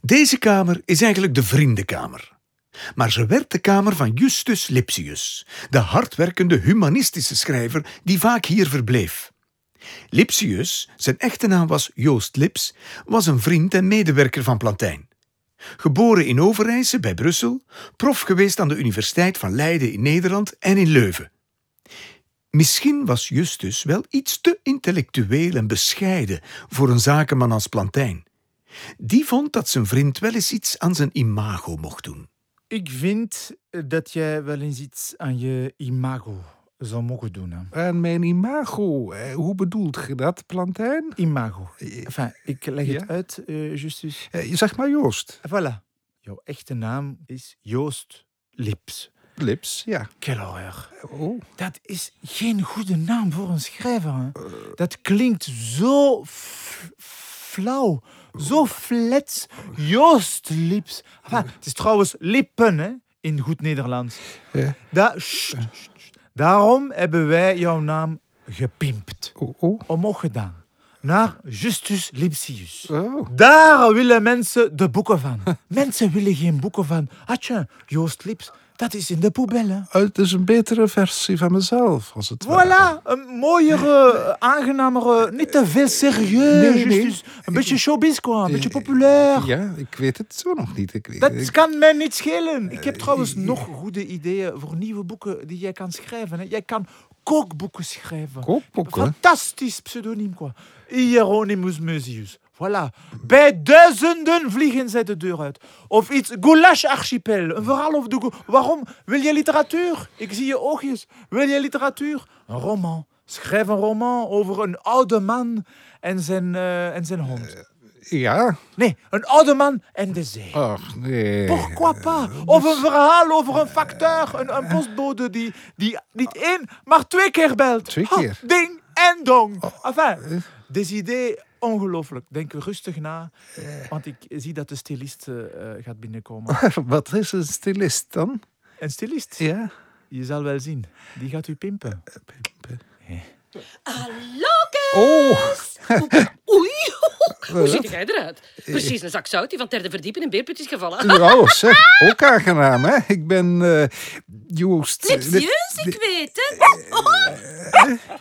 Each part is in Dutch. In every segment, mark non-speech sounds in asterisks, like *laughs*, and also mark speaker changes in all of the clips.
Speaker 1: Deze kamer is eigenlijk de vriendenkamer. Maar ze werd de kamer van Justus Lipsius, de hardwerkende humanistische schrijver die vaak hier verbleef. Lipsius, zijn echte naam was Joost Lips, was een vriend en medewerker van Plantijn. Geboren in Overijse bij Brussel, prof geweest aan de Universiteit van Leiden in Nederland en in Leuven. Misschien was Justus wel iets te intellectueel en bescheiden voor een zakenman als Plantijn. Die vond dat zijn vriend wel eens iets aan zijn imago mocht doen.
Speaker 2: Ik vind eh, dat jij wel eens iets aan je imago zou mogen doen. Hè?
Speaker 3: Aan mijn imago. Eh, Hoe bedoelt je dat, Plantijn?
Speaker 2: Imago. Enfin, ik leg
Speaker 3: Ja?
Speaker 2: het uit, eh, Justus.
Speaker 3: Eh, Zeg maar Joost.
Speaker 2: Voilà. Jouw echte naam is Joost Lips.
Speaker 3: Lips, ja.
Speaker 2: Keller.
Speaker 3: Oh.
Speaker 2: Dat is geen goede naam voor een schrijver. Hè? Dat klinkt zo f- flauw. Zo flets. Joost Lips. Enfin, het is trouwens lippen hè? in goed Nederlands.
Speaker 3: Ja.
Speaker 2: Da-
Speaker 3: Eh.
Speaker 2: sst, sst, sst. Daarom hebben wij jouw naam gepimpt.
Speaker 3: Oh, oh.
Speaker 2: Omhoog gedaan. Naar Justus Lipsius.
Speaker 3: Oh.
Speaker 2: Daar willen mensen de
Speaker 3: *laughs*
Speaker 2: boeken van. mensen willen geen boeken van. Atje, Joost Lips, dat is in de poubelle. hè.
Speaker 3: Oh, Het is een betere versie van mezelf, als het ware.
Speaker 2: Voilà, een mooiere,
Speaker 3: *laughs*
Speaker 2: eh, aangenamere, niet te veel serieus.
Speaker 3: Nee, nee.
Speaker 2: Justus, een beetje showbiz, quoi. een beetje
Speaker 3: Eh,
Speaker 2: populair.
Speaker 3: Ja, ik weet het zo nog niet. Ik, weet-
Speaker 2: Dat
Speaker 3: ik-
Speaker 2: kan mij niet schelen. Ik heb trouwens
Speaker 3: eh,
Speaker 2: nog goede ideeën voor nieuwe boeken die jij kan schrijven. hè. Jij kan kookboeken schrijven.
Speaker 3: Kookboeken?
Speaker 2: Fantastisch pseudoniem, quoi. Hieronymus Musius. Voilà. Bij duizenden vliegen zij de deur uit. Of iets, Goulash Archipel. Een verhaal over de... gou- Waarom? Wil je literatuur? Ik zie je oogjes. Wil je literatuur? Een roman. Schrijf een roman over een oude man en zijn, eh, en zijn hond.
Speaker 3: Ja.
Speaker 2: Nee, een oude man en de zee.
Speaker 3: Ach, nee.
Speaker 2: Pourquoi
Speaker 3: Eh,
Speaker 2: pas? Of
Speaker 3: dus-
Speaker 2: een verhaal over een facteur, een, een postbode die, die niet één, maar twee keer belt.
Speaker 3: Twee
Speaker 2: Ha,
Speaker 3: keer? Oh. Eh.
Speaker 2: ding en dong. Enfin, dit idee ongelooflijk. Denk rustig na,
Speaker 3: Eh.
Speaker 2: want ik zie dat de stylist eh, eh, gaat
Speaker 3: *laughs*
Speaker 2: binnenkomen.
Speaker 3: *laughs* Wat is een stylist dan?
Speaker 2: Een stylist?
Speaker 3: Ja.
Speaker 2: Je zal wel zien. Die gaat u pimpen.
Speaker 4: Hallo, Kees!
Speaker 3: Oh,
Speaker 4: Oei, hoe ziet jij eruit? Precies een zak zout die van derde verdieping in beerput is gevallen.
Speaker 3: nou zeg, ook aangenaam, hè? Ik ben eh Joost. eh,
Speaker 4: Lipsius, ik weet het.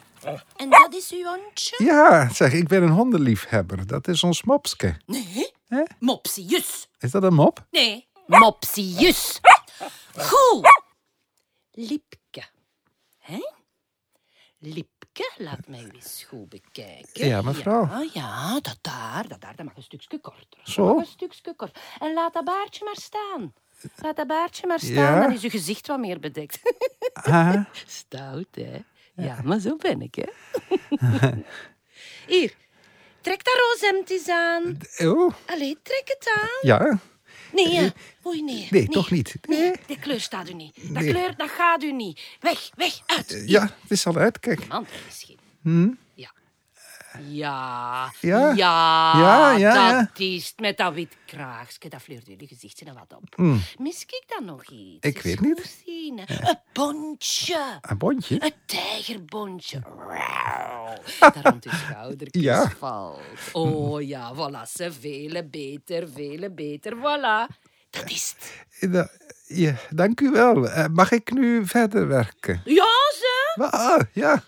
Speaker 4: En dat is uw hondje?
Speaker 3: Ja, zeg, ik ben een hondenliefhebber. Dat is ons mopske.
Speaker 4: Nee, Mopsius.
Speaker 3: Is dat een mop?
Speaker 4: Nee, Mopsius. Goed. Lipke. Hè? Lipke, laat mij eens goed bekijken.
Speaker 3: Ja, mevrouw.
Speaker 4: Ja, Ah, ja, dat daar, dat daar, dat mag een stukje korter. Dat
Speaker 3: Zo.
Speaker 4: mag Een stukje korter. En laat dat baardje maar staan. Laat dat baardje maar staan,
Speaker 3: Ja.
Speaker 4: dan is je gezicht wat meer bedekt.
Speaker 3: Ah,
Speaker 4: Stout, hè? Ja, maar zo ben ik, hè? *laughs* Hier, trek dat rozemd eens aan.
Speaker 3: oh,
Speaker 4: Allee, trek het aan.
Speaker 3: ja.
Speaker 4: Nee, hè. Oei, nee.
Speaker 3: Nee, toch niet.
Speaker 4: Nee, die kleur staat u niet. Dat
Speaker 3: Nee. Eh.
Speaker 4: kleur, dat gaat u niet. Weg, weg, uit.
Speaker 3: Ja, het is al uit, kijk.
Speaker 4: Man, misschien. Ja. Ja,
Speaker 3: Hm? Ja?
Speaker 4: ja,
Speaker 3: Ja, ja,
Speaker 4: dat is het. met dat wit kraagje, dat fleurt jullie gezicht en wat op. Mis ik dan nog iets?
Speaker 3: Hm. Ik
Speaker 4: Eens
Speaker 3: weet niet. Ah.
Speaker 4: goed zien, hè. Een bondje.
Speaker 3: Een bondje?
Speaker 4: Een tijgerbondje. Wauw. Daar rond je schouderkist
Speaker 3: Ja.
Speaker 4: valt. Oh ja, voilà. Ze vele beter, vele beter. Voilà. Dat is het.
Speaker 3: Eh, Da- ja, dank u wel. Eh, mag ik nu verder werken?
Speaker 4: Ja, ze.
Speaker 3: Ah, ja.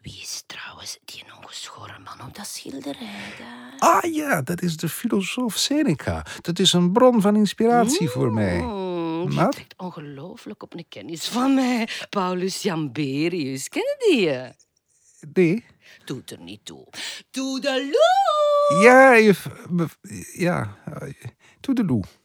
Speaker 4: Wie is trouwens die ongeschoren man op dat schilderij daar?
Speaker 3: Ah ja, dat is de filosoof Seneca. Dat is een bron van inspiratie voor mij.
Speaker 4: Mm, die
Speaker 3: Maar?
Speaker 4: trekt ongelooflijk op een kennis van mij. Paulus Jamberius, kennen die je?
Speaker 3: Nee?
Speaker 4: Doet er niet toe. Doe de loe!
Speaker 3: Ja, juf- mev- ja. eh, Toedeloe.